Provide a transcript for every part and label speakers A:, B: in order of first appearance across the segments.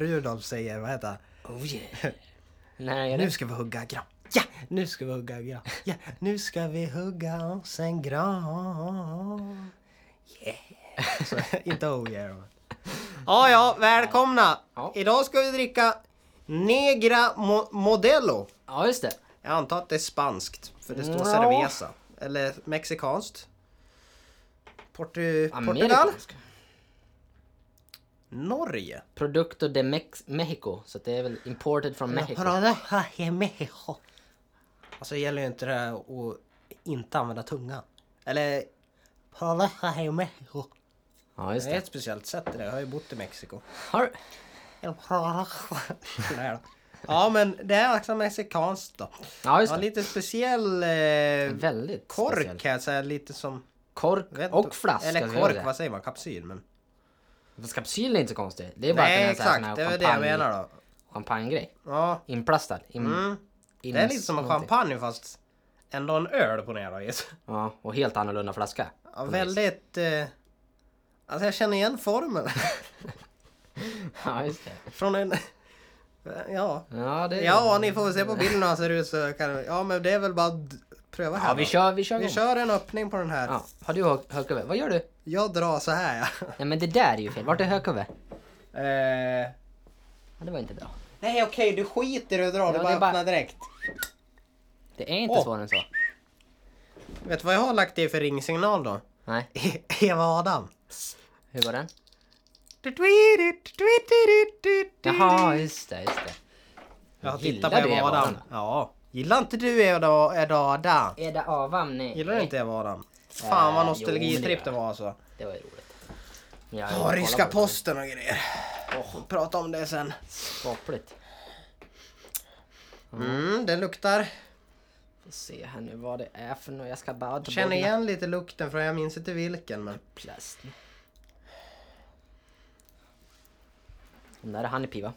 A: Rudolf säger, vad heter han?
B: Oh yeah. Nej, är det?
A: Nu ska vi hugga gran. Ja, nu ska vi hugga gran. Ja, nu ska vi hugga oss en gran. Yeah. Så, inte oh yeah. Ja, ja, välkomna.
B: Ja.
A: Idag ska vi dricka Negra Mo- Modelo.
B: Ja, just det.
A: Jag antar att det är spanskt, för det står
B: Ja.
A: cerveza. Eller mexikanskt. Portu- Portugal?
B: Amerikansk.
A: Norge?
B: Producto de Mex- Mexico. Så det är väl imported from Mexico.
A: Mexico. Alltså det gäller ju inte det här att inte använda tungan. Eller... Mexico.
B: Ja,
A: Det
B: just
A: är
B: det.
A: ett speciellt sätt det där. Jag har ju bott i Mexiko.
B: Har...
A: Nej då. ja men det är också mexikanskt då.
B: Ja, just
A: Ja,
B: det.
A: lite speciell eh,
B: Väldigt
A: kork
B: speciell.
A: kan jag säga. Lite som... Jag vet
B: Kork
A: inte-
B: och flaska.
A: Eller
B: så är
A: kork,
B: det.
A: vad säger man? Kapsyl? Men...
B: Fast kapsylen är inte så konstig. Det är bara
A: Nej
B: att den är sån här
A: exakt, det var det jag menar då.
B: champagnegrej.
A: Ja.
B: Inplastad. In,
A: Mm. Det är lite som en champagne fast ändå en öl på det då.
B: Ja, och helt annorlunda flaska.
A: Ja, väldigt... Eh, alltså jag känner igen formen.
B: Ja, just det.
A: Från en... Ja.
B: Ja, det
A: Ja, ni får väl se på bilden hur han ser ut så kan Ja, men det är väl bara att d- pröva här
B: Ja,
A: då.
B: vi kör, vi kör
A: Vi
B: igång.
A: kör en öppning på den här.
B: Ja. Har du hö- högkuvert? Vad gör du?
A: Jag drar så här ja.
B: Nej men det där är ju fel. Vart är högkuvert?
A: Eh,
B: Ja, det var inte bra.
A: nej okej, du skiter i att
B: det
A: dra. du
B: är
A: bara
B: bara-
A: öppnar direkt.
B: Det är inte
A: Åh.
B: svårare än så.
A: Vet du vad jag har lagt i för ringsignal då?
B: Nej,
A: Eva Adam.
B: hur var den? Jaha,
A: Jaha.
B: just det, just det.
A: Jag
B: Gillar
A: tittar på
B: du
A: Eva Adam. Ja. Gillar inte du Eva Eva Adam?
B: Eda Avam, nej.
A: Gillar du inte Eva Adam? Fan vad
B: Eh, jo, men
A: nostalgitripp
B: det
A: det
B: gör
A: var alltså.
B: Det var ju roligt. Men jag har
A: Ja,
B: kollat
A: ryska
B: på det. Oh.
A: posten och grejer. Åh, prata om det sen.
B: Skapligt.
A: Mm, det luktar.
B: Får se här nu vad det är för något. Jag ska bara ta bort
A: Känner
B: mina
A: igen lite lukten från, jag minns inte vilken men.
B: plast. Den där är Honeybee va?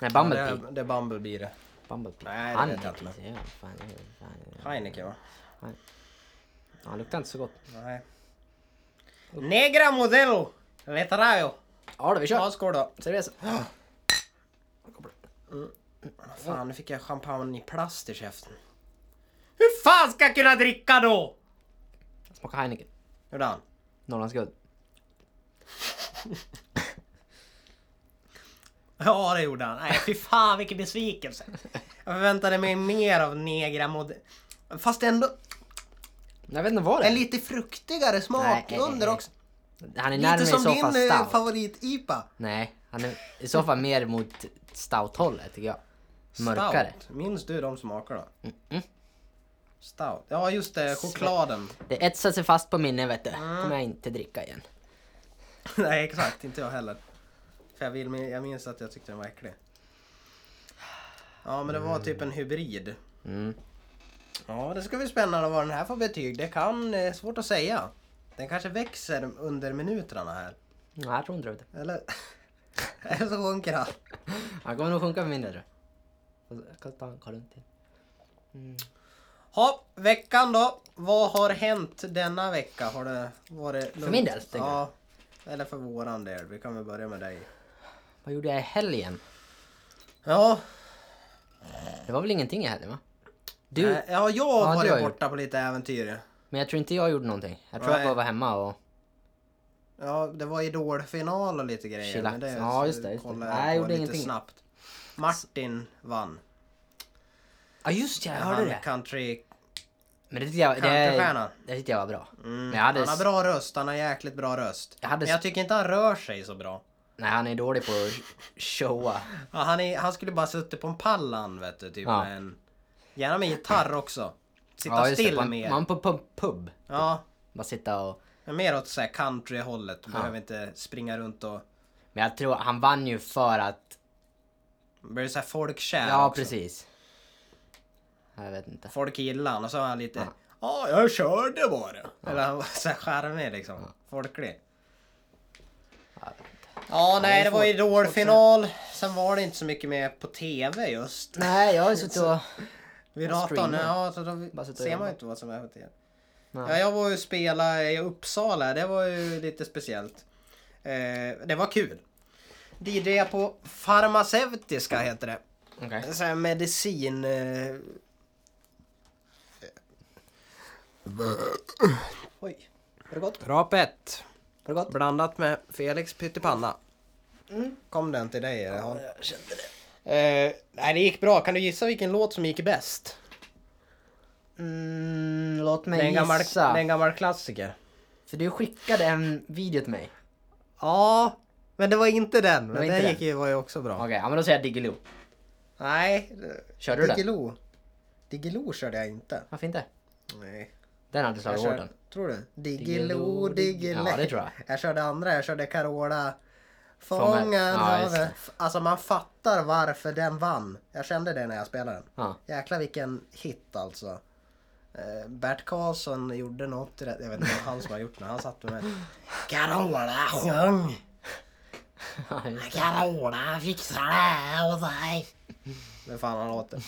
B: Nej,
A: Det
B: Bumblebee.
A: är, det är Bumblebee det.
B: Bumblebee.
A: Nej, det vet jag
B: Honeybee, ja, fan, ja, fan, ja.
A: Heineken va?
B: Ja, Han luktar inte så gott.
A: Nej. Negra Modelo! Letrayo!
B: Ja då, vi
A: Ja,
B: kör!
A: skål då.
B: Seriöst.
A: Fan, nu fick jag champagne i plast i käften. Hur fan ska jag kunna dricka då?
B: Smaka Heineken.
A: Gjorde han?
B: Norrlands guld.
A: Ja, det gjorde han. Nej, fy fan vilken besvikelse. Jag förväntade mig mer av Negra Modelo. Fast ändå
B: Jag vet inte vad det
A: En
B: är.
A: lite fruktigare smak
B: Nej.
A: under också.
B: Han är närmare
A: Lite
B: i
A: som
B: så
A: din eh,
B: fall stout.
A: favorit-IPA.
B: Nej, han är i så fall mer mot stout-hållet tycker jag. Mörkare.
A: Stout. Minns du de smakerna? Stout. Ja just det, chokladen.
B: Det etsar sig fast på minnen vet du.
A: Ah.
B: kommer jag inte dricka igen.
A: Nej exakt, inte jag heller. För jag, vill, min- jag minns att jag tyckte den var äcklig. Ja men det var typ en hybrid.
B: Mm.
A: Ja det ska bli spännande vad den här får betyg. Det kan, eh, svårt att säga. Den kanske växer under minuterna här.
B: Nej, jag tror inte det.
A: Eller? Eller så sjunker han.
B: Han kommer nog sjunka på minnen tror jag. Jag kan ta en koll till.
A: Ja, veckan då. Vad har hänt denna vecka? Har det varit lugnt?
B: min del, tänker
A: Ja, eller för våran del. Vi kan väl börja med dig.
B: Vad gjorde jag i helgen?
A: Ja,
B: Det var väl ingenting i helgen va? Du,
A: du, Eh, ja jag
B: du
A: har
B: har
A: varit
B: gjort.
A: borta på lite äventyr.
B: men jag tror inte jag gjorde någonting. Jag tror
A: Nej.
B: jag bara var hemma och
A: Ja, det var idolfinal och lite grejer.
B: Chillax.
A: men det
B: Ja, just det, just det.
A: kollade
B: Nej, jag
A: på
B: gjorde
A: lite
B: ingenting.
A: snabbt. Martin vann.
B: Ja just ja, jag hörde
A: Han
B: det.
A: Country...
B: Men det tyckte jag,
A: Countrystjärnan.
B: det, det tyckte jag var bra.
A: Mm,
B: Men jag hade
A: Han har
B: s-
A: bra röst, han har jäkligt bra röst.
B: Jag hade
A: Men
B: s-
A: jag tycker inte han rör sig så bra.
B: Nej han är dålig på att showa.
A: Ja, han, är, han skulle bara suttit på en pall han, vet du. Typ
B: Ja.
A: med en, gärna med gitarr också. Sitta
B: Ja, just det,
A: still
B: på en-
A: mer.
B: Man på pub. pub.
A: Ja,
B: Bara sitta och...
A: men mer åt så här country-hållet. Behöver inte springa runt och...
B: Men jag tror han vann ju för att...
A: Blir så här folkkär
B: Ja,
A: också.
B: precis. Jag vet inte.
A: Folk gillar han och så var han lite... Ja, jag körde bara. Eller han var så här charmig liksom. Folklig.
B: Ja,
A: Ja, nej,
B: vi
A: det
B: får-
A: var idolfinal. Sen var det inte så mycket mer på TV just.
B: Nej, jag har ju suttit och...
A: Vid
B: Och
A: datorn,
B: streama.
A: ja, så
B: Bara
A: då
B: sitta och
A: ser man
B: jobba.
A: ju inte vad som är på TV. Ja,
B: Nej.
A: jag var ju och spelade i Uppsala, det var ju lite speciellt. Eh, det var kul. DJ på farmaceutiska heter det.
B: Okej.
A: Så här medicin... Eh... Oj, var det gott?
B: Rapet.
A: Var det gott? Blandat med Felix pyttipanna. Kom den till dig? Eller? Ja, jag kände det. Eh, nej, det gick bra. Kan du gissa vilken låt som gick bäst?
B: Mm, låt
A: Det är en
B: mig
A: gammal, det
B: gissa.
A: är en gammal klassiker.
B: För du skickade en video till mig.
A: Ja, men det var inte den.
B: var
A: Men
B: inte
A: den
B: den.
A: gick ju, var ju också bra.
B: Okej, ja men då säger jag Diggiloo.
A: Nej,
B: Körde du den?
A: Diggiloo. Diggiloo körde jag inte.
B: Varför inte?
A: Nej.
B: Den hade slagit
A: kör-
B: hårt den.
A: Tror du?
B: Diggiloo,
A: Diggiloo, Diggiloo.
B: Ja, det tror jag.
A: Jag körde andra, jag körde Carola.
B: Fångad.
A: Fångad
B: Ja, just
A: av...
B: det.
A: F- Alltså man fattar varför den vann. Jag kände det när jag spelade den.
B: Ja.
A: Jäklar vilken hit alltså. Eh, Bert Karlsson gjorde något i det. Jag vet inte vad han som har gjort det. Han satt med Carola sjöng. Carola fixar det här åt dig. Men fan han låter.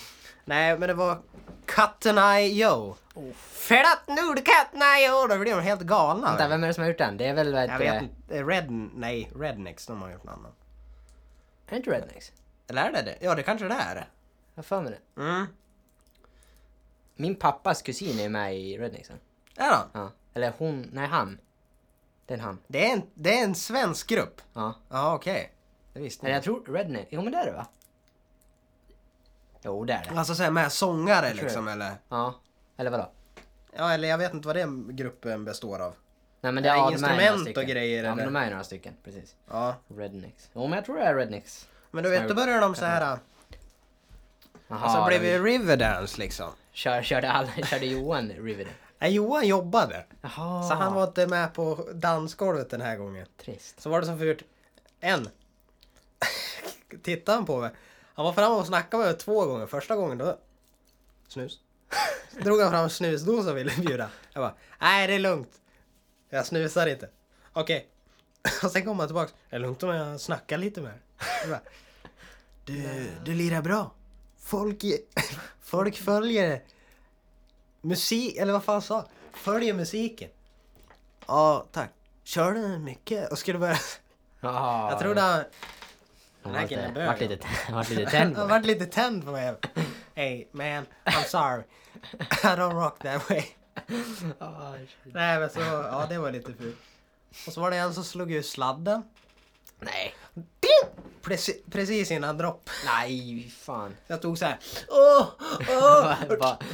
A: Nej men det var Cut and I Yo. För att nu du Cut and I Yo. Då blir de helt galna.
B: Vänta, vem är det som har gjort den? Det är väl vad
A: jag
B: heter
A: vet
B: det?
A: inte. Red, nej, Rednecks de har gjort någon annan.
B: Är det inte Rednecks?
A: Eller är det det? Ja det kanske det är.
B: Jag har för mig det.
A: Mm.
B: Min pappas kusin är med i Rednexen.
A: Är han?
B: Ja. Eller hon, nej han. Det är en han.
A: Det är en, det är en svensk grupp.
B: Ja.
A: Ja okej. Det visste
B: Eller
A: jag.
B: jag tror Rednex, jo men det är det va? Jo det är det.
A: Alltså såhär med sångare
B: tror
A: liksom eller?
B: Ja. Eller vadå?
A: Ja eller jag vet inte vad den gruppen består av.
B: Nej men ja,
A: Ja,
B: de är
A: instrument
B: några
A: och
B: stycken.
A: grejer,
B: Ja men
A: eller?
B: de är ju några stycken, precis.
A: Ja.
B: Rednex. Jo men jag tror det är Rednex.
A: Men du vet då börjar de så här.
B: Aha,
A: Alltså blev
B: de-
A: det Riverdance liksom.
B: kör, körde, alla, körde Johan Riveter?
A: Nej, Johan jobbade.
B: Jaha.
A: Så han var inte med på dansgolvet den här gången.
B: Trist.
A: Så var det som förut. En. Tittade han på mig. Han var framme och snackade med mig två gånger. Första gången då. Snus. Så drog han fram snusdosa och ville bjuda. Jag bara, nej det är lugnt. Jag snusar inte. Okej. Och sen kom han tillbaks. Är det lugnt om jag snackar lite med dig? Jag bara, Du, du lirar bra. Folk, i- folk följer musik, eller vad fan sa han? Följer musiken. Ja, tack. Kör du mycket? Och skulle börja...
B: Jaha.
A: Jag trodde han...
B: han
A: den här
B: vart-
A: killen är bög,
B: vart
A: ja.
B: lite, vart lite tänd på
A: Han
B: mig.
A: vart lite tänd på mig. Hey man, I'm sorry. I don't rock that way.
B: Ah, shit.
A: Nej men så, ja det var lite fult. Och så var det en som slog ut sladden.
B: Nej.
A: Preci- precis innan dropp.
B: Nej, fan.
A: Så jag tog så här. Åh! Åh!
B: Bara-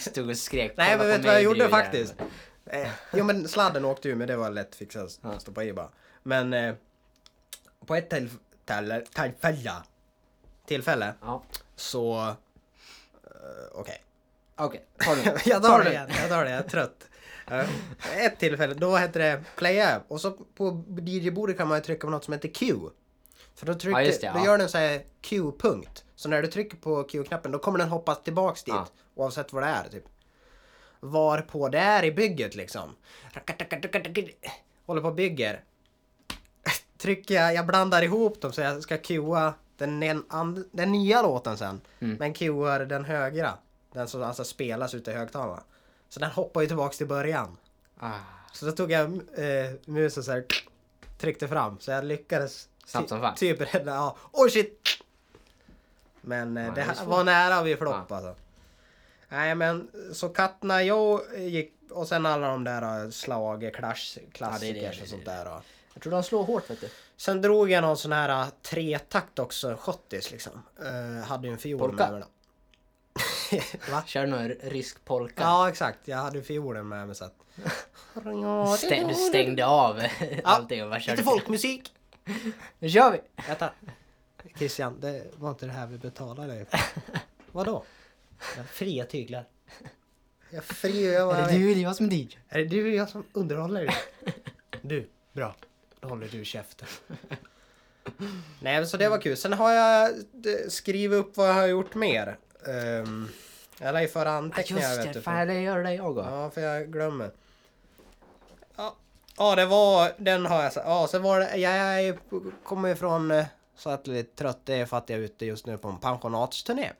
B: Stod och skrek.
A: Nej
B: "Kolla på
A: men vet
B: mig,
A: du vad jag
B: du
A: gjorde
B: jävel."
A: faktiskt? Eh, jo men sladden åkte ju men det var lätt fixat. Stoppa i bara. Men eh, på ett tillf- tell- tillfälle. Tillfälle.
B: Ja.
A: Så... Eh, Okej.
B: eh, Okej, ta den.
A: jag tar
B: den.
A: det igen, jag tar det, jag är trött. Eh, Ett tillfälle, då hette det play app och så på DJ-bordet kan man ju trycka på något som heter Q. För då, trycker,
B: Ja, just det,
A: då
B: ja.
A: gör den så här Q-punkt. Så när du trycker på Q-knappen då kommer den hoppa tillbaks dit
B: Ja.
A: oavsett vad det är typ. Var på det är i bygget liksom. Håller på och bygger. Trycker jag, jag blandar ihop dem så jag ska cuea den, en- and- den nya låten sen.
B: Mm.
A: Men cuear den högra. Den som alltså spelas ute i högtalarna. Så den hoppar ju tillbaks till början.
B: Ah,
A: Så då tog jag eh, musen så här, tryckte fram. Så jag lyckades
B: Snabbt som fan.
A: typ rädda, ja. Oj shit! Men eh,
B: Ja,
A: det
B: det är
A: här
B: svårt.
A: var nära vi flopp alltså. Nej men så Katna jag gick och sen alla de där eh, slag, clash, klassikers och sånt där. Och.
B: jag tror de slår hårt vet du.
A: Sen drog jag någon sån här eh, tretakt också, schottis liksom. Eh, hade ju en fiol
B: Polka?
A: med mig då. Va?
B: Kör någon r- rysk polka.
A: Ja exakt, jag hade fiolen med mig så att...
B: Stäng, du stängde av allting och bara körde.
A: Lite folkmusik!
B: Nu kör vi!
A: Vänta. Christian, det var inte det här vi betalade dig för. Vadå? Jag fria tyglar. Jag fria, jag
B: Är
A: bara...
B: det du eller jag som är DJ?
A: Är det du och jag som underhåller dig? Du, bra. Då håller du käften. Nej, men så det var kul. Sen har jag eh, skrivit upp vad jag har gjort mer. Um, jag lär ju föra
B: Ja,
A: anteckningar.
B: just
A: vet
B: det,
A: du,
B: fan det gör det jag också.
A: Ja, för jag glömmer. Ja, ja det var... Den har jag... sa- Ja, sen var det... Jag, jag är- kommer ju från... eh, Så att lite trött det är för att jag är ute just nu på en pensionatsturné.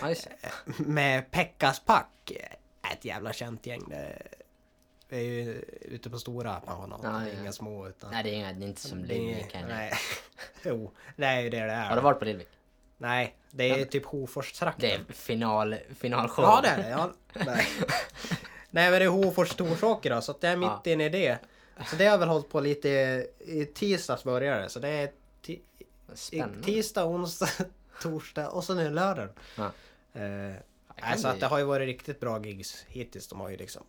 B: Ja, just det.
A: Med Pekkas Pack. Ett jävla känt gäng. Det är ju ute på stora pannan.
B: Ja, ja.
A: Inga små utan...
B: Nej, det är, inga, det är inte som
A: det,
B: Lillvik kanske.
A: nej. jo, det är ju det det är.
B: Har du varit på Lillvik?
A: Nej, det är ju typ Hoforstrakten.
B: Det är final, finalshow.
A: Ja det är det. Ja. Nej. Nej men det är Hofors Torsåker då, så att det är mitt
B: Ja.
A: inne i det. Så det har jag väl hållit på lite i- i tisdags började det, så det är ti- i
B: Spännande.
A: tisdag, onsdag, torsdag och så nu lördag.
B: Ja.
A: Eh,
B: kan
A: nej, så att
B: bli-
A: det har ju varit riktigt bra gigs hittills. De har ju liksom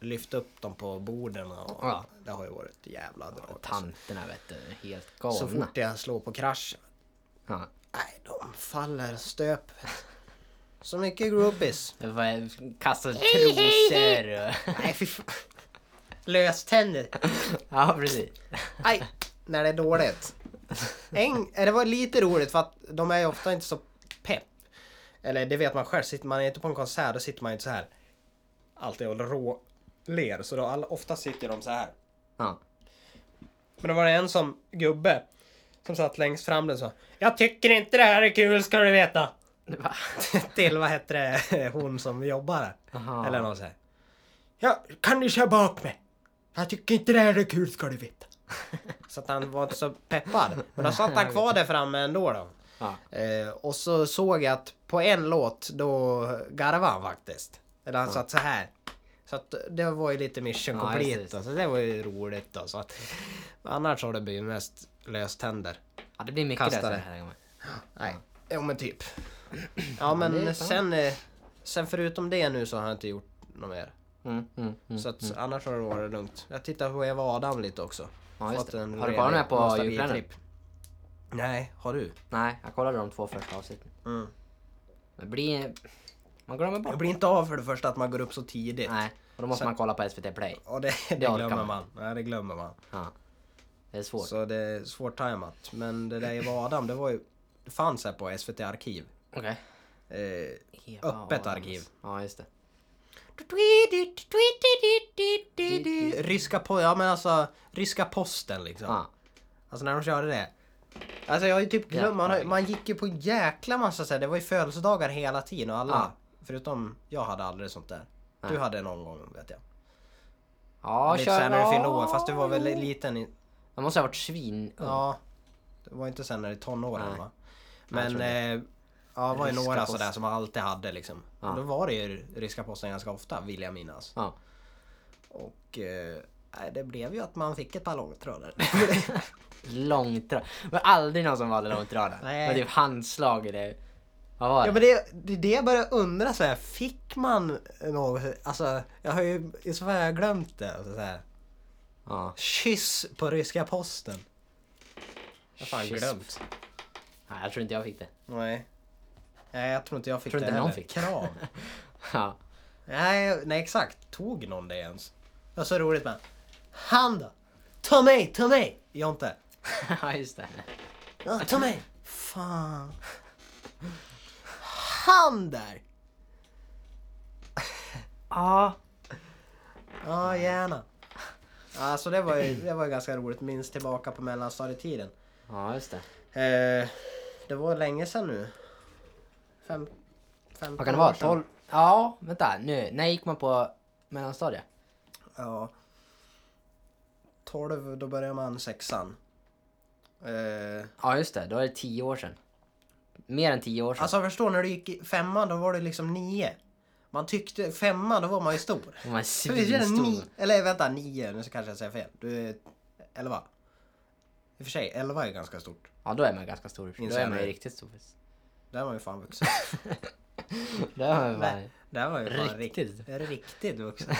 A: lyft upp dem på borden och
B: Ja.
A: det har ju varit ett jävla drag. alltså.
B: Tanterna vet du, helt
A: så
B: galna.
A: fort jag slår på krasch,
B: Ja.
A: nej de faller stöp. Så mycket groupies.
B: Det var kastade trosor och...
A: Nej fy fan. Löständer.
B: Ja, precis.
A: Aj! När det är dåligt. En, eh, det var lite roligt för att de är ju ofta inte så pepp. Eller det vet man själv, sitter man inte på en konsert då sitter man ju inte så här. Alltid och råler. Så då all, ofta sitter de så här.
B: Ja.
A: Men då var det en som, gubbe, som satt längst fram där och sa Jag tycker inte det här är kul ska du veta.
B: Va?
A: Till vad hette det, hon som jobbar där.
B: Aha.
A: Eller någon så här. Ja, kan du köra bak mig? Jag tycker inte det här är kul ska du veta. så att han var inte så peppad. Men då satt han kvar där framme ändå då.
B: Ja.
A: Eh, och så såg jag att på en låt då garvade han faktiskt. Eller han satt så här. Så att det var ju lite mission
B: Ja,
A: complete.
B: precis.
A: då, så det var ju roligt då. Så att, annars har det blivit mest löständer.
B: ja, det blir mycket
A: Kasta
B: där
A: det.
B: den här gången.
A: Nej, jo men typ.
B: det
A: Ja
B: är
A: men
B: fan.
A: sen, eh, sen förutom det nu så har jag inte gjort något mer.
B: Mm, mm, mm.
A: Så att annars har det varit lugnt. Jag tittar på Eva Adam lite också.
B: Ja, just
A: Fått
B: det.
A: en
B: Har du kollat
A: rejäl
B: med på
A: nostalgitripp.
B: julkalendern?
A: Nej, har du?
B: Nej, jag kollade de två första avsnitten.
A: Mm.
B: Men blir... Man glömmer
A: Jag
B: bort.
A: blir inte av för det första att man går upp så tidigt.
B: Nej, och då måste
A: Så-
B: man kolla på SVT Play.
A: Och det, det
B: orkar
A: glömmer
B: man.
A: man. Nej, det glömmer man.
B: Ja. Det är svårt.
A: Så det är svårt tajmat. Men det där Eva Adam, det var ju... Det fanns här på SVT Arkiv.
B: Okej.
A: Eh,
B: Eva Adams.
A: Öppet arkiv.
B: Ja, just det.
A: ryska po- ja men alltså ryska posten liksom.
B: Ja.
A: Alltså när de körde det. Alltså jag har ju typ glömt, man, har- man gick ju på en jäkla massa så här, det var ju födelsedagar hela tiden och alla.
B: Ja.
A: Förutom jag hade aldrig sånt där. Du
B: Nej.
A: hade någon gång vet jag.
B: Ja,
A: Lite sen när du fyllde år,
B: ja,
A: fast du var väl
B: jo.
A: liten i,
B: Jag måste ha varit svin.
A: Ja. Det var inte sen när det är tonåren
B: Nej.
A: va?
B: Nej,
A: Men
B: jag tror
A: eh, ja, det var ju
B: Ryska Ah.
A: några
B: posten.
A: sådär som man alltid hade liksom.
B: Ja.
A: Och Då var det ju ryska posten ganska ofta vill jag minnas.
B: Ja.
A: Och eh, nej, det blev ju att man fick ett par långtradare.
B: Långtradare. Det var aldrig någon som valde långtradare.
A: Nej.
B: Det var typ handslag i det. Vad var det?
A: ja men det, det är det jag börjar undra så här. fick man något? Alltså jag har ju i så fall har jag glömt det. Alltså, så här.
B: Ja.
A: Kyss på ryska posten. Jag har fan
B: Kyss.
A: glömt.
B: Nej, jag tror inte jag fick det.
A: Nej. Nej jag tror inte jag fick
B: Tror
A: det
B: inte någon
A: heller.
B: fick det.
A: Krav.
B: Ja.
A: Nej, nej exakt. Tog någon det ens? Det var så roligt med. Han då? Ta mig, ta mig! Jonte.
B: Ja, just det.
A: Ja, ta mig! Fan. Han där!
B: Ja.
A: Ja, gärna. Ja, så det var ju, det var ju ganska roligt. Minns tillbaka på mellanstadietiden.
B: Ja, just det.
A: Eh, det var länge sedan nu. Fem, fem
B: Vad kan det vara? 12? Ja, vänta. Nu. När gick man på mellanstadiet?
A: Ja. 12, då börjar man sexan. Eh,
B: Ja, just det. Då är det 10 år sedan. Mer än 10 år sedan.
A: Alltså förstår när du gick i femman då var du liksom nio. Man tyckte femman då var man ju stor.
B: Man är
A: För visst är det ni,
B: svinstor.
A: eller vänta nio nu så kanske jag säger fel. Du är elva. I och för sig elva är ganska stort.
B: Ja, då är man ganska stor. Då
A: Inser jag
B: är man ju
A: nu.
B: riktigt stor.
A: Där var man ju fan vuxen.
B: Då är man bara...
A: Nej. Där var ju fan
B: Riktigt.
A: riktigt, riktigt vuxen.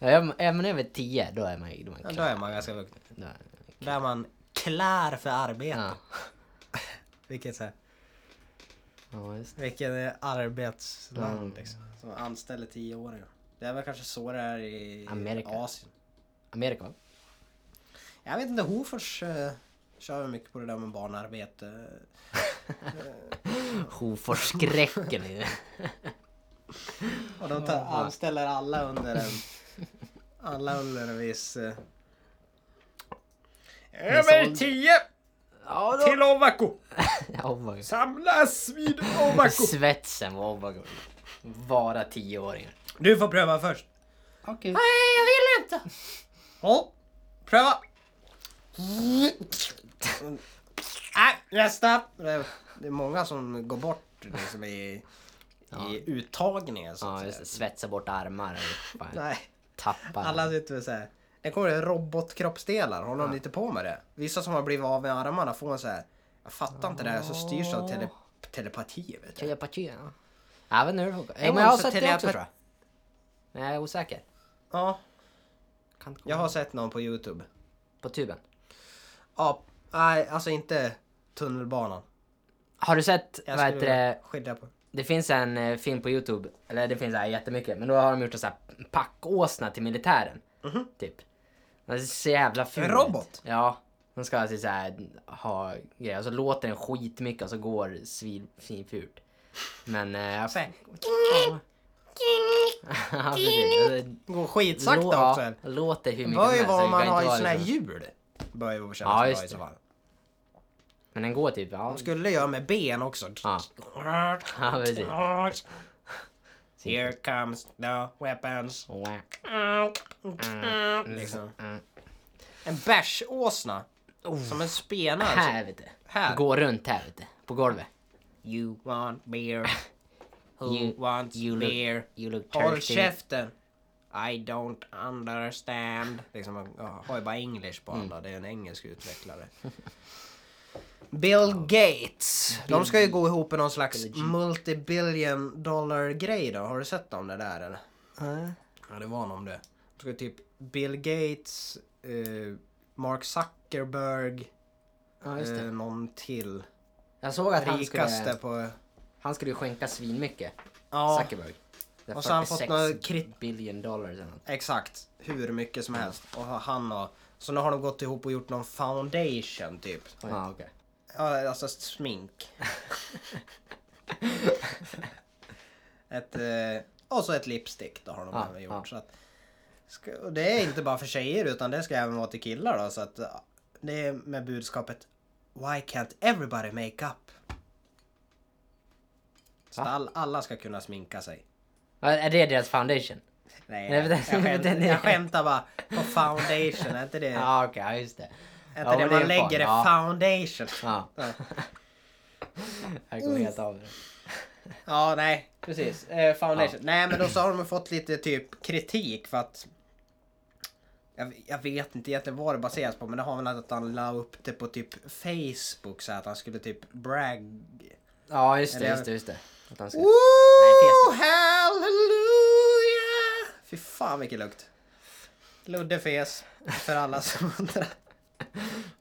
B: Ja, är man- är man över 10, då är man ju... Då är man
A: Ja,
B: klar.
A: då är man ganska vuxen.
B: Då är-
A: Där är man klar för arbete.
B: Ja.
A: Vilket, så här,
B: ja, just det.
A: vilket eh, arbetsland
B: Mm.
A: liksom. Som anställer tioåringar. Det är väl kanske så det är i
B: Amerika.
A: Asien.
B: Amerika, va?
A: Jag vet inte, Hofors uh, kör väl mycket på det där med barnarbete. Eh,
B: Hoforsskräcken i det.
A: och de tar, anställer alla under en... Alla under en viss... eh,
B: Över
A: tio
B: Ja,
A: Ovako!
B: Ja, Ovako.
A: Samlas vid Ovako!
B: Svetsen var Ovako. Vara tioåringar.
A: Du får pröva först.
B: Okej.
A: Nej, jag vill inte! Ja, pröva! Nej, nästa! Det är många som går bort liksom i,
B: Ja.
A: i uttagningar så
B: Ja,
A: att
B: just det.
A: säga.
B: Svetsa bort armar och bara
A: Nej,
B: tappar.
A: alla sitter väl såhär. Det kommer det robotkroppsdelar, håller de inte på med det? Vissa som har blivit av med armarna får en så här. Jag fattar inte det här, så styrs av tele, telepati vet du.
B: Telepati, ja. Jag vet inte hur det funkar.
A: En
B: Men jag har
A: gång så
B: sett det också
A: telepat-
B: tror jag. Men jag är osäker.
A: Ja,
B: Kan inte komma
A: jag har
B: ihåg.
A: sett någon på Youtube.
B: På tuben.
A: Ja, nej alltså inte tunnelbanan.
B: Har du sett,
A: Jag
B: vad heter
A: skulle
B: det,
A: skilja på
B: det finns en eh, film på Youtube, eller det finns här jättemycket, men då har de gjort en sån här packåsna till militären. Typ. Den ser så jävla ful
A: Mhm. En
B: ut.
A: robot?
B: Ja. De ska alltså så här, ha grejer, och så låter den skitmycket och så går svin, svinfult. Men... Eh, jag-
A: Såhär.
B: Ja. Ja, precis. Alltså,
A: Går skitsakta
B: lå- ja,
A: också. eller?
B: Låter hur mycket
A: Bör ju
B: helst,
A: vara
B: så
A: om
B: det
A: man
B: kan
A: har
B: inte
A: ju
B: vara
A: såna här
B: liksom-
A: hjul. Bör ju kännas
B: Ja,
A: bra
B: just
A: i så
B: det.
A: fall.
B: Men den går typ... Ja.
A: De skulle göra med ben också.
B: Ja. Ja, precis.
A: Here comes the weapons. Alltså, Liksom.
B: Mm.
A: En bärsåsna. Som en spena. Alltså.
B: Här vet du.
A: Här.
B: Gå runt här vet du. På golvet. You,
A: Want beer? Who
B: You-
A: wants
B: you look
A: beer?
B: you look
A: Håll
B: thirsty.
A: käften! I don't understand. Liksom, man ja, har ju bara english på
B: Mm.
A: alla. Det är en engelsk utvecklare. Bill Gates. De ska ju gå ihop i någon slags multibillion dollar grej då. Har du sett om det där eller? Ja, det var någon om det. De ska ju typ Bill Gates, eh, Mark Zuckerberg,
B: Ja, just
A: eh,
B: det.
A: någon till.
B: Jag såg att han
A: Rikaste
B: skulle,
A: på...
B: han skulle ju skänka svinmycket.
A: Ja,
B: Zuckerberg. Det är
A: Och så har han fått
B: 46
A: några krit-
B: billion dollar eller något.
A: Exakt, hur mycket som helst. Och ha- han har... Så nu har de gått ihop och gjort någon foundation typ.
B: Ja, okej.
A: Ja, alltså smink. ett, eh, och så ett lipstick då har de
B: Ja,
A: även gjort.
B: ja.
A: Så att, ska, och det är inte bara för tjejer utan det ska även vara till killar då. Så att, eh, det är med budskapet Why can't everybody make up? Så att
B: Va?
A: all, alla ska kunna sminka sig.
B: Ja, Är det deras foundation?
A: Nej,
B: Nej,
A: jag,
B: men
A: jag,
B: det- men
A: skämt,
B: det-
A: jag skämtar bara. På foundation, är inte det,
B: Ja,
A: är
B: okej, ja, just det.
A: inte
B: Ja, men det
A: det
B: är
A: man
B: en
A: lägger
B: form,
A: det?
B: ja.
A: Foundation.
B: Ja.
A: Ja.
B: Jag kommer helt av det.
A: Ja, nej, precis. Eh, foundation. Nej, men då så har de fått lite typ kritik för att... Jag, jag vet inte egentligen vad det baseras på, men det har väl att han la upp det på typ Facebook så här, att han skulle typ brag...
B: Ja, just det,
A: Eller-
B: just det, just det. Att han ska...
A: Ooh, hallelujah! Fy fan vilken lukt. Ludde fes, för alla som undrar.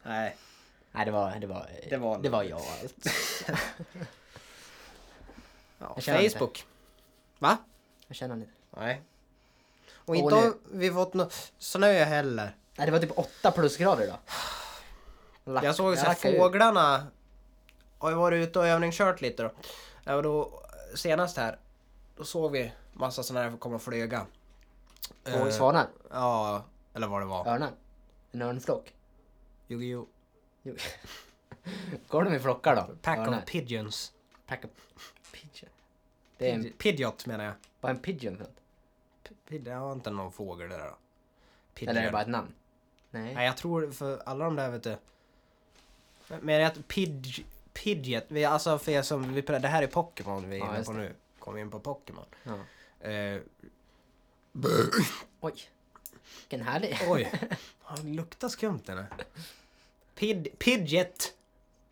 A: Nej.
B: Nej, det var... Det var,
A: Det var-
B: det var jag allt.
A: Ja,
B: Jag känner inte.
A: Facebook. Va?
B: Jag känner lite.
A: Nej. Och
B: Och
A: inte
B: nu-
A: har vi fått något snö heller.
B: Nej, det var typ 8 plusgrader idag. Lack-
A: Jag såg så här,
B: lackade ur.
A: fåglarna har ju varit ute och övningskört lite då. Ja, Och då senast här, då såg vi massa sådana här komma och flyga.
B: Och
A: Eh,
B: svanar.
A: Ja, eller vad det var.
B: Örnar. En örnflock.
A: Yu-Gi-Oh!
B: Jo. Går de i flockar då?
A: Pack
B: Örnar.
A: of pigeons.
B: Pack of pigeon. Det är en,
A: Pidgeot menar jag.
B: bara en pigeon för något.
A: P- pid- Det var inte någon fågel det där då. Pigeon.
B: Eller är det bara ett namn? Nej.
A: Nej jag tror för alla de där vet du. Men att pidge, pidget, vi, alltså för er som, vi, det här är Pokémon vi är
B: Ja,
A: inne
B: just
A: på
B: det.
A: nu. Kom in på Pokémon.
B: Ja.
A: Eh,
B: Oj. Vilken härlig.
A: Oj, han luktar skumt den här. Pid, Pidget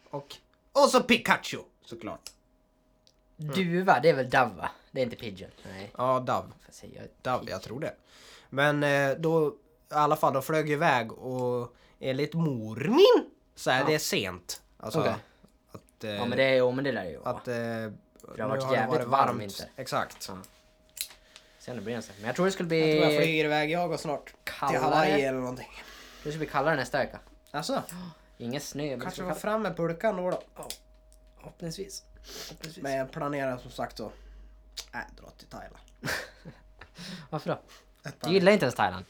A: och, och så Pikachu såklart.
B: Duva, det är väl dove va? Det är inte pigeon. Nej.
A: Ja, Dav.
B: Vad säger jag?
A: Dav, jag tror det. Men eh, då, i alla fall, de flög iväg och enligt mormin så är
B: Ja.
A: det sent. Alltså,
B: Okej.
A: att, eh,
B: Ja men det är, jo, men det där är ju. va?
A: att eh, nu
B: varit jävligt varm vinter.
A: Exakt. Eh,
B: Ja. Sen det blir en sak. Men jag tror det skulle bli...
A: Jag tror jag flyger iväg jag och snart.
B: Kallare.
A: Till Hawaii eller någonting.
B: Det ska bli kallare nästa vecka.
A: Alltså,
B: Ingen snö, men det
A: kanske
B: ska
A: vara
B: bli
A: fram med pulkan då. då.
B: kallt. Hoppningsvis. Hoppningsvis.
A: Men jag planerar som sagt att äh, dra till Thailand.
B: Varför då?
A: Ett par
B: Du gillar inte ens Thailand?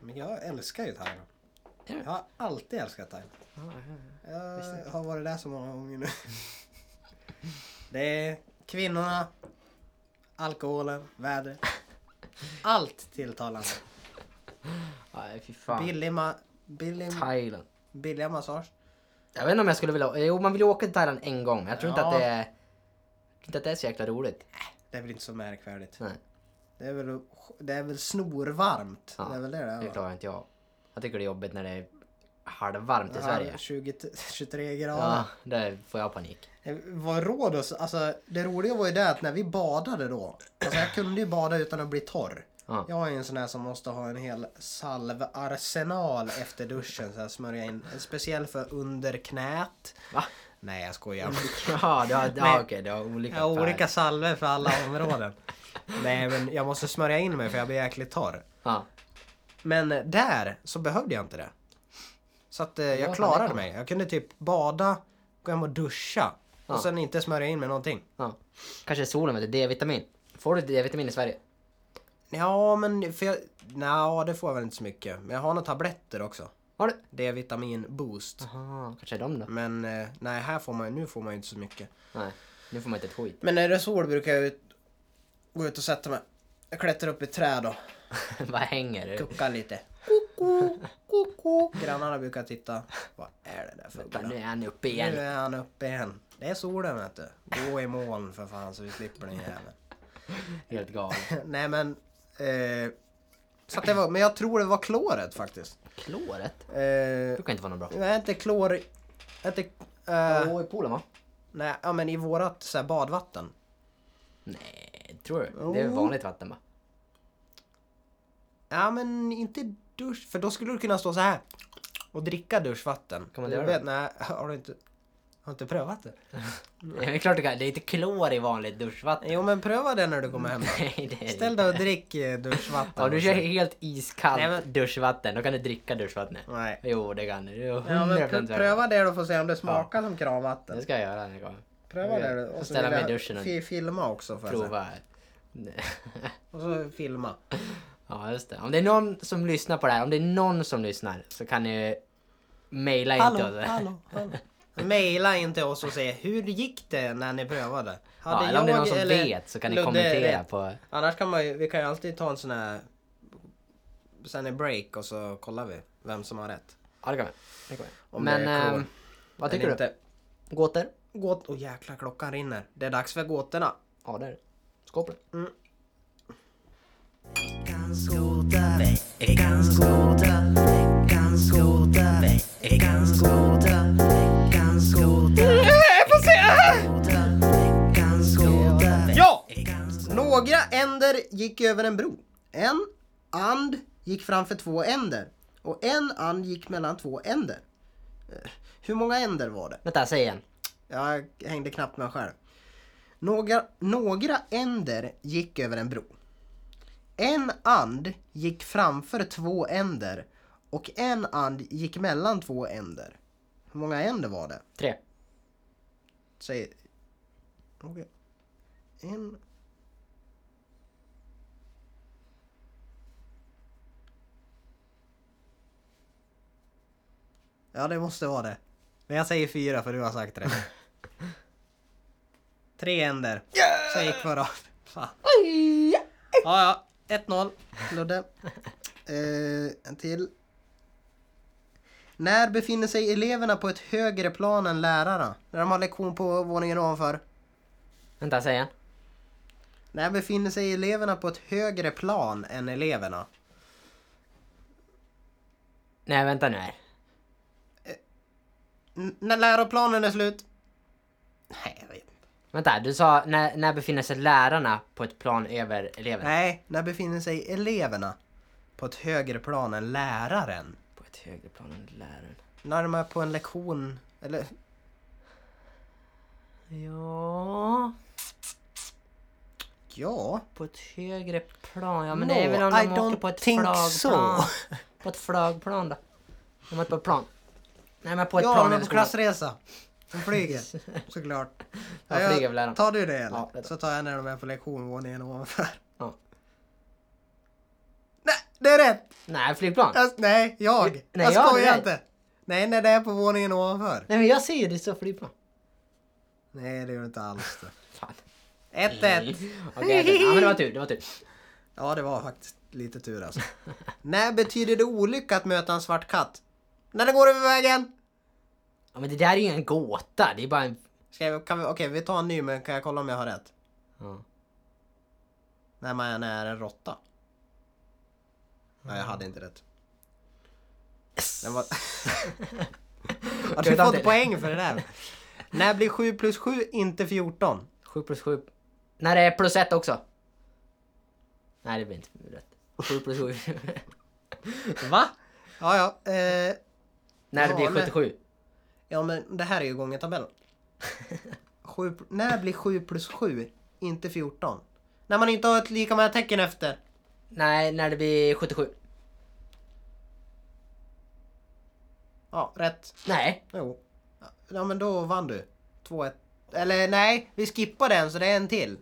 A: Men jag älskar ju Thailand.
B: Är det?
A: Jag har alltid älskat Thailand. Jag har varit där så många gånger nu. Det är kvinnorna, alkoholen, vädret. Allt tilltalande.
B: Nej, fy fan.
A: Billig, ma- billig,
B: Thailand.
A: billiga massage.
B: Jag vet inte om jag skulle vilja... Jo, man vill ju åka till Thailand en gång, men jag tror inte
A: Ja.
B: att det är... jag tror Inte att det är så jäkla roligt.
A: Det är väl inte så märkvärdigt.
B: Nej,
A: Det är väl, det är väl snorvarmt.
B: Ja,
A: det är väl det det är,
B: det
A: va?
B: klarar inte jag. Jag tycker det är jobbigt när det är halvvarmt i
A: Ja,
B: Sverige.
A: 20, 23
B: Ja,
A: grader.
B: där får jag panik.
A: Ja. Vad råd oss, alltså det roliga var ju det att när vi badade då. Alltså jag kunde ju bada utan att bli torr.
B: Ja.
A: Jag är ju en sån här som måste ha en hel salvarsenal efter duschen. Så jag smörjer in en speciell för under knät.
B: Va?
A: Nej jag skojar.
B: Ja, du har, ja,
A: Men-
B: okej, du har olika
A: Jag har
B: färg.
A: olika salver för alla områden. Nej men jag måste smörja in mig för jag blir jäkligt torr.
B: Ja.
A: Men där så behövde jag inte det. Så att eh,
B: Ja,
A: jag
B: fan, det
A: klarade
B: kan
A: mig. Jag kunde typ bada, gå hem och duscha.
B: Ja.
A: Och sen inte smörja in med någonting.
B: ja. Kanske solen med D-vitamin. Får du D-vitamin i Sverige?
A: Ja men för jag... Nja, det får jag väl inte så mycket. Men jag har några tabletter också.
B: Har du?
A: D-vitamin boost.
B: Aha, kanske är de då?
A: Men eh, nej, här får man ju- nu får man ju inte så mycket.
B: Nej, nu får man inte ett skit.
A: Men när det är sol brukar jag ut, gå ut och sätta mig. Jag klättrar upp i ett träd och
B: Vad hänger du?
A: kuckar lite. Koko, koko. Grannarna brukar titta. Vad är det där för
B: Vänta, Nu
A: uggla?
B: är han uppe
A: Nu
B: igen.
A: är han uppe igen. Det är solen vet du. Gå i moln för fan så vi slipper den jäveln.
B: Helt galen.
A: Nej men. Eh, så att det var, men jag tror det var kloret faktiskt.
B: Kloret?
A: Eh,
B: Det kan inte vara något bra.
A: nej inte klor. Inte, eh,
B: Åh, i poolen va?
A: nej, ja, men i vårat så här, badvatten.
B: Nej, Eh, tror du? Det är
A: Jo.
B: vanligt vatten va?
A: Ja men inte dusch, för då skulle du kunna stå så här och dricka duschvatten.
B: Kan man
A: Du
B: göra
A: vet, Nej, har du inte, har du inte prövat det?
B: Nej, men klart du kan. Det är inte klor i vanligt duschvatten.
A: Jo men pröva det när du kommer hem. då.
B: Nej, det är det
A: Ställ
B: inte.
A: dig och drick eh, duschvatten.
B: Ja, du
A: och
B: kör
A: så-
B: helt iskallt
A: Nej, men-
B: duschvatten. Då kan du dricka duschvattnet.
A: Nej.
B: Jo, det kan du. Det är
A: Ja, men
B: 100%
A: pr-
B: värt.
A: pröva det då för att se om det smakar som
B: Det
A: kranvatten.
B: ska jag göra när jag kommer.
A: Pröva
B: Jag
A: det då.
B: får
A: Och så
B: ställa
A: vill
B: mig i
A: jag
B: duschen och
A: fi- filma också. Får jag säga.
B: prova här. Nej.
A: Och så filma.
B: Ja, just det. Om det är någon som lyssnar på det här, om det är någon som lyssnar så kan ni mejla in till
A: Hallå,
B: oss.
A: hallå, hallå. Maila inte oss och säg hur gick det när ni prövade?
B: Ja, eller om det är någon som vet så kan ni
A: Ludde
B: kommentera
A: rätt?
B: på...
A: Annars kan man ju, vi kan ju alltid ta en sån här sen en break och så kollar vi vem som har rätt.
B: Ja, det kan vi. Det kan vi.
A: Om
B: Men
A: det är klor.
B: ehm, vad
A: Men
B: tycker du?
A: inte
B: Gåtor?
A: Gåt... Åh jäklar, klockan rinner. Det är dags för gåtorna.
B: Ja, det är det. Skål på det.
A: Veckans gåta, veckans gåta, veckans gåta, veckans gåta, veckans gåta. Jag får se! Ja! Några änder gick över en bro. En and gick framför två änder. Och en and gick mellan två änder. Eh, Hur många änder var det?
B: Vänta, säg igen.
A: Jag hängde knappt med själv. Några, några änder gick över en bro. En and gick framför två änder och en and gick mellan två änder. Hur många änder var det?
B: Tre.
A: Säg... Okej. En... Ja, det måste vara det. Men jag säger fyra för du har sagt det. Tre änder. Så jag gick förra. Fan. Ja, ja. 1-0. Ludde. Eh, en till. När befinner sig eleverna på ett högre plan än lärarna? När de har lektion på våningen ovanför.
B: Vänta, säg igen.
A: När befinner sig eleverna på ett högre plan än eleverna?
B: Nej, vänta nu här.
A: N- när läroplanen är slut? Nej, jag vet inte.
B: Vänta, du sa när, när befinner sig lärarna på ett plan över eleverna?
A: Nej, när befinner sig eleverna på ett högre plan än läraren?
B: På ett högre plan än läraren.
A: När de är på en lektion, eller
B: Ja,
A: ja.
B: på ett högre plan. Ja, men det är
A: No,
B: väl om
A: I
B: de åker
A: don't
B: på ett
A: think
B: flagplan.
A: so.
B: På ett flagplan då. De är på ett plan. Nej, men på ett
A: Ja,
B: plan
A: de är
B: över
A: på
B: skolan.
A: klassresa. De flyger, såklart.
B: Ja,
A: jag-
B: flyger väl är de.
A: Tar du det eller?
B: Ja, det tar
A: Så tar jag när de är på lektion våningen ovanför.
B: Ja.
A: Nej, det är rätt!
B: Nej, flygplan.
A: Jag, nej, jag.
B: Nej,
A: jag
B: jag,
A: skojar
B: nej.
A: inte. Nej, när det är på våningen ovanför.
B: Nej, men jag säger det så flygplan.
A: Nej, det gör det inte alls. det.
B: Fan.
A: 1-1.
B: Mm. Okej, okej. ja, men det var tur. Det var tur.
A: Ja, det var faktiskt lite tur alltså. När betyder det olycka att möta en svart katt? När den går över vägen!
B: Ja, men det där är ju en gåta. Det är bara en...
A: Ska jag, kan vi, okej, vi tar en ny men kan jag kolla om jag har rätt?
B: Ja.
A: När man är en råtta. Nej, jag hade inte rätt. Den var... ja,
B: Jag vet
A: du får
B: inte.
A: inte poäng för det där. När blir 7 plus 7 inte 14?
B: 7 plus 7. Nej, det är plus 1 också. Nej, det blir inte rätt. 7 plus 7.
A: Va? Ja, ja. Eh,
B: När det
A: Ja,
B: blir
A: men-
B: 77.
A: ja, men det här är ju gånger tabellen. Sju, när blir 7 plus 7 inte 14? När man inte har ett lika många tecken efter.
B: Nej, när det blir 77.
A: Ja, rätt.
B: Nej.
A: Jo. Ja, men då vann du. 2-1. Eller nej, vi skippar den så det är en till.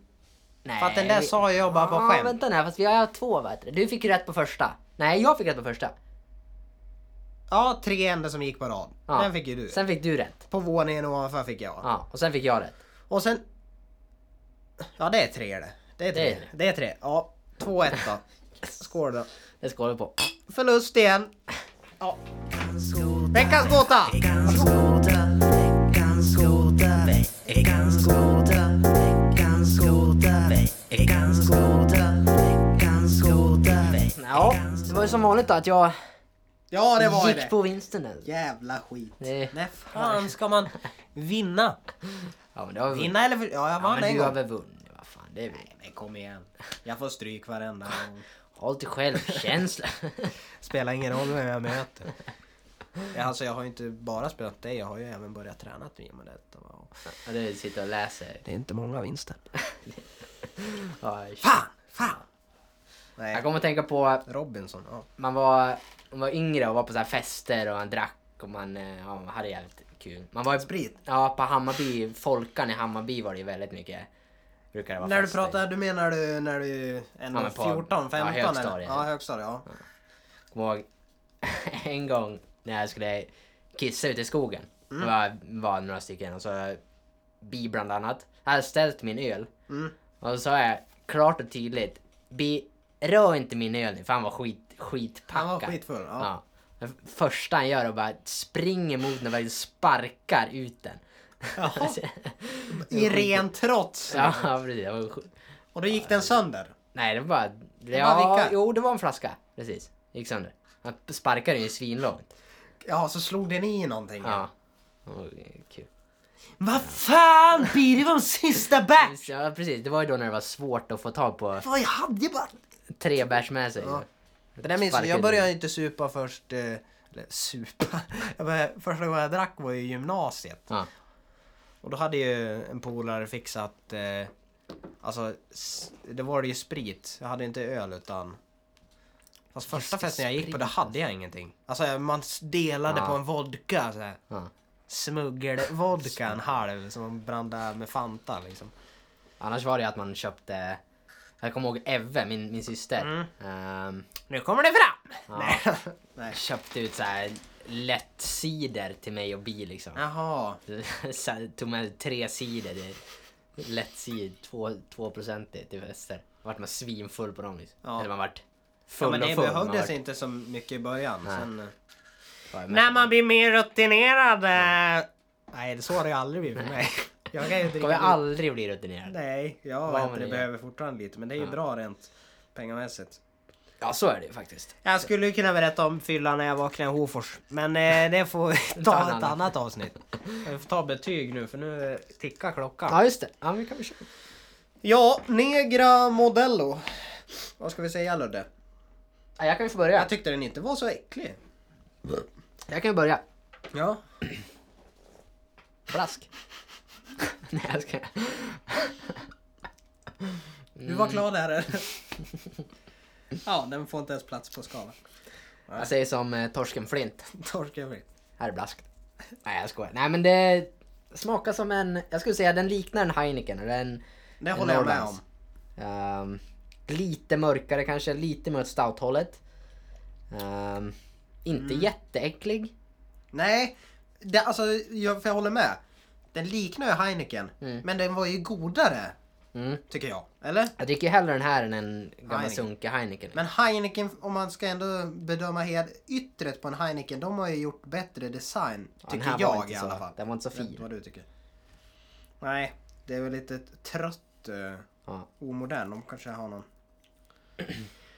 B: Nej.
A: För att den där
B: vi-
A: sa jag bara på
B: Ja,
A: skämt.
B: vänta nu, fast vi har två vet du. Du fick ju rätt på första. Nej, jag fick rätt på första.
A: Ja, tre ändar som gick på rad.
B: Ja.
A: Den fick ju du.
B: Sen fick du rätt.
A: På våningen ovanför fick jag.
B: Ja, och sen fick jag rätt.
A: Och sen... Ja, det är tre det. Det är tre.
B: Det
A: Det
B: är det.
A: är tre. Ja, 2-1 då. Skål då.
B: Det skålar vi på.
A: Förlust igen. Ja. Veckans gåta!
C: Veckans gåta, veckans gåta, veckans gåta, veckans gåta, veckans gåta, veckans gåta,
B: Ja, det var ju som vanligt då att jag
A: Ja, det var ju
B: gick
A: det.
B: på vinsten där.
A: Jävla skit.
B: Det-
A: När fan ska man vinna?
B: Ja, men det har vi vunnit.
A: Vinna eller... för- Ja, jag
B: Ja,
A: vann
B: men
A: en
B: du har
A: gång.
B: väl vunnit? Vad fan, det är väl...
A: Men kom igen. Jag får stryk varenda gång.
B: Håll till självkänsla.
A: Spelar ingen roll vem jag möter. Ja, Alltså jag har ju inte bara spelat dig, jag har ju även börjat träna i och med detta. Och
B: ja, du sitter och läser.
A: Det är inte många vinster.
B: Ja, shit.
A: Fan! Fan! Nej,
B: jag kommer att tänka på
A: Robinson. Ja.
B: man var, man var yngre och var på så här fester och man drack och man, eh, ja, man hade jävligt kul. Man var ju-
A: Sprit?
B: Ja, på Hammarby, Folkan i Hammarby var det ju väldigt mycket. Brukar det vara
A: När du
B: fester.
A: pratar, du menar du när du
B: Ja,
A: är
B: men på-
A: 14, 15
B: ja,
A: eller?
B: högstadiet.
A: Ja, högstadiet. Ja.
B: Kommer ihåg en gång när jag skulle kissa ute i skogen.
A: Mm.
B: Det var, var några stycken och så Bi bland annat. Jag hade ställt min öl.
A: Mm.
B: Och så sa jag klart och tydligt. Bi, rör inte min öl nu för han var skit, skitpackad.
A: Han var skitfull. Ja.
B: Ja. Det första han gör är att bara springer mot den och verkligen sparkar ut den.
A: Jaha. I ren trots.
B: ja, precis. Det var sj-
A: Och då gick den sönder.
B: Nej, det var bara... Det
A: bara
B: ja,
A: vicka.
B: jo, det var en flaska. Precis. Gick sönder. Han sparkade den ju svinlångt.
A: Ja, så slog den i någonting.
B: Ja. Det var ju Kul.
A: Vad fan Bi, det var en sista bärs!
B: Ja, precis. Det var ju då när det var svårt att få tag på
A: Vad jag hade ju bara...
B: tre bärs med sig.
A: Ja. Det där minns jag.
B: Sparkade
A: Jag började ju inte supa först... eh, Eller supa? Jag började, första gången jag drack var i gymnasiet.
B: Ja.
A: Och då hade ju en polare fixat... Eh, alltså, s- det var det ju sprit. Jag hade inte öl utan... Fast första
B: Just det,
A: festen jag gick på, då
B: sprit.
A: hade jag ingenting. Alltså jag- man s- delade
B: Ja.
A: på en vodka så här.
B: Ja.
A: Smuggel-vodka, en halv som man blandade med Fanta liksom.
B: Annars var det ju att man köpte... Jag kommer ihåg Eve, min, min syster.
A: Mm.
B: Ehm,
A: Nu kommer det fram!
B: Ja.
A: Nej. Nej.
B: köpte ut så här lätt cider till mig och Bi liksom.
A: Jaha.
B: så här, tog med tre sidor. Det är lätt sidor, två, två procentigt till väster. Vart man svinfull på dem liksom.
A: Ja.
B: Eller man vart full
A: Ja, men det
B: och full. man vart-
A: behövdes inte så mycket i början.
B: Nej.
A: Sen, eh,
B: var mest-
A: När man blir mer rutinerad. eh, Nej, det så har det ju aldrig blivit för mig. Jag kan ju dricka
B: Kommer jag
A: lite-
B: aldrig bli rutinerad.
A: Nej, jag
B: Vad
A: vet
B: man
A: inte, det
B: gör.
A: behöver fortfarande lite. Men det är ju bra rent pengamässigt.
B: Ja, så är det ju faktiskt.
A: Jag skulle ju kunna berätta om fyllan när jag vaknade i Hofors. Men eh, det får vi
B: Ta en
A: ta ett
B: annan.
A: annat avsnitt. Vi får ta betyg nu för nu eh, tickar klockan.
B: Ja, just det. Ja, men vi kan väl köra.
A: Ja, Negra Modello. Vad ska vi säga Ludde?
B: Ja, jag kan ju få börja.
A: Jag tyckte den inte var så äcklig.
B: Jag kan ju börja.
A: Ja.
B: Flask. Nej, jag ska...
A: Du var klar där eller? Ja, den får inte ens plats på skalan.
B: Jag säger som eh, torsken Flint.
A: Torkar fritt.
B: Här är blask. Nej, jag skojar. Nej, men det smakar som en... Jag skulle säga den liknar en Heineken. och Den,
A: Det
B: en
A: håller jag med om.
B: Norrlands. Ehm, lite mörkare kanske, lite mer åt stouthållet. Ehm, inte
A: Mm.
B: jätteäcklig.
A: Nej, det, alltså, jag, för jag håller med. Den liknar ju Heineken, men den var ju godare.
B: Mm.
A: tycker jag. Eller?
B: Jag dricker ju hellre den här än en gammal
A: Heineken.
B: sunkig Heineken.
A: Men Heineken, om man ska ändå bedöma hel yttret på en Heineken, de har ju gjort bättre design.
B: Ja, den
A: Tycker
B: här var
A: jag
B: inte
A: i
B: så-
A: alla fall.
B: Den var inte så
A: Jag vet inte
B: fin.
A: vad du tycker. Nej, det är väl lite trött, eh,
B: Ja.
A: omodern. De kanske har någon.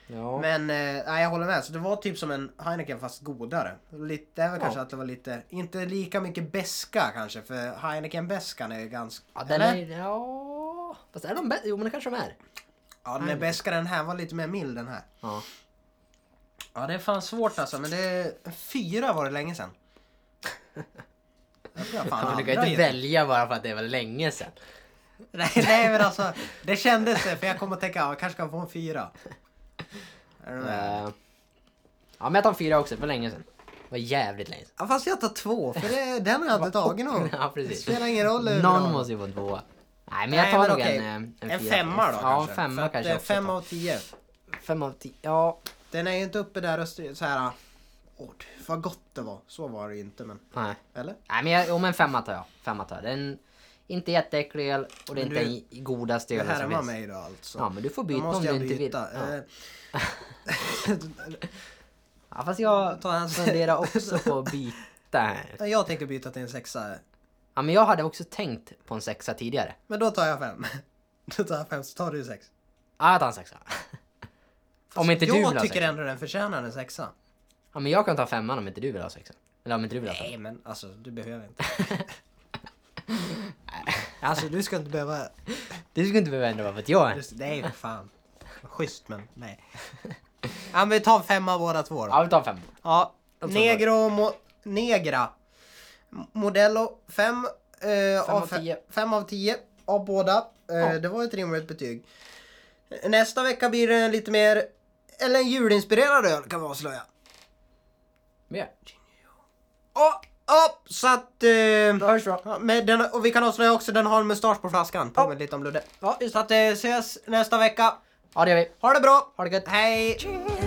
B: Ja.
A: Men eh, nej, jag håller med. Så det var typ som en Heineken fast godare. Lite, det är väl
B: Ja.
A: kanske att det var lite, inte lika mycket beska kanske. För heineken beskan är ganska...
B: ja, den
A: eller?
B: är... Ja... Fast är de bättre? Jo, men det kanske de är.
A: Ja, den är beska den här var lite mer mild den här.
B: Ja.
A: Ja, det är fan svårt alltså. Men det... Fyra var det länge sedan. Jag tror jag fan
B: Ja, men du
A: aldrig
B: kan ju
A: har
B: inte
A: gett-
B: välja bara för att det var länge sedan.
A: Nej, nej men alltså. Det kändes det. För jag kom att tänka, ja, jag kanske kan få en fyra. Är du med?
B: Eh, Ja, men jag tar fyra också. Det var länge sedan. Det var jävligt länge sedan.
A: Ja, fast jag tar två. För det, den har jag inte tagit någon.
B: Ja,
A: Det
B: precis.
A: spelar ingen roll. hur bra.
B: Någon måste ju få en tvåa. Nej, men jag
A: Nej,
B: tar
A: men
B: nog
A: okej.
B: en, eh, en,
A: En
B: fyra.
A: femma då
B: ja,
A: kanske?
B: en femma
A: För att,
B: kanske
A: eh,
B: jag också
A: Fem
B: tar.
A: av tio.
B: Fem av tio. Ja.
A: Den är ju inte uppe där och styr, så här. Åh, du, vad gott det var. Så var det ju inte men.
B: Nej.
A: Eller?
B: Nej, men jag, jo, men femma tar jag. Femma tar jag. Den inte jätteäcklig öl och det är
A: Men
B: inte
A: du-
B: den godaste
A: Du
B: ölen som
A: härmar
B: finns.
A: mig då alltså.
B: Ja, men du får
A: Då
B: byta om
A: måste
B: du
A: jag
B: inte vill.
A: byta.
B: Ja.
A: Eh,
B: ja, fast jag
A: Ta hans-
B: funderar också på att byta här.
A: Eh, Jag tänkte byta till en sexa.
B: Ja, men jag hade också tänkt på en sexa tidigare.
A: Men då tar jag fem. Då tar jag fem så tar du sex.
B: Ja, jag tar en sexa. Om inte du
A: jag
B: vill ha
A: tycker
B: sexa.
A: ändå den förtjänar en sexa.
B: Ja, men jag kan ta femman om inte du vill ha sexan. Eller om inte du vill ha femman.
A: Nej men alltså du behöver inte. alltså du ska inte behöva...
B: Du skulle inte behöva ändra bara för att jag är.
A: Just, nej för fan. Schysst men nej. Ja men vi tar femma båda två då.
B: Ja, vi tar fem.
A: Ja.
B: Jag tror
A: Negro mo, Negra. M- Modello 5
B: Fem
A: av
B: av tio.
A: 5 av 10 av båda. Eh,
B: Ja.
A: Det var ett rimligt betyg. Nästa vecka blir det en lite mer, eller en julinspirerad öl kan vi avslöja.
B: Ja.
A: Oh, oh, så att...
B: Då
A: Eh,
B: hörs vi då.
A: ja, men den, och vi kan avslöja också, den har en mustasch på flaskan. Påminner lite om Ludde. Ja, så att eh, ses nästa vecka.
B: Ja, det gör vi.
A: Ha det bra!
B: Ha det gött.
A: Hej!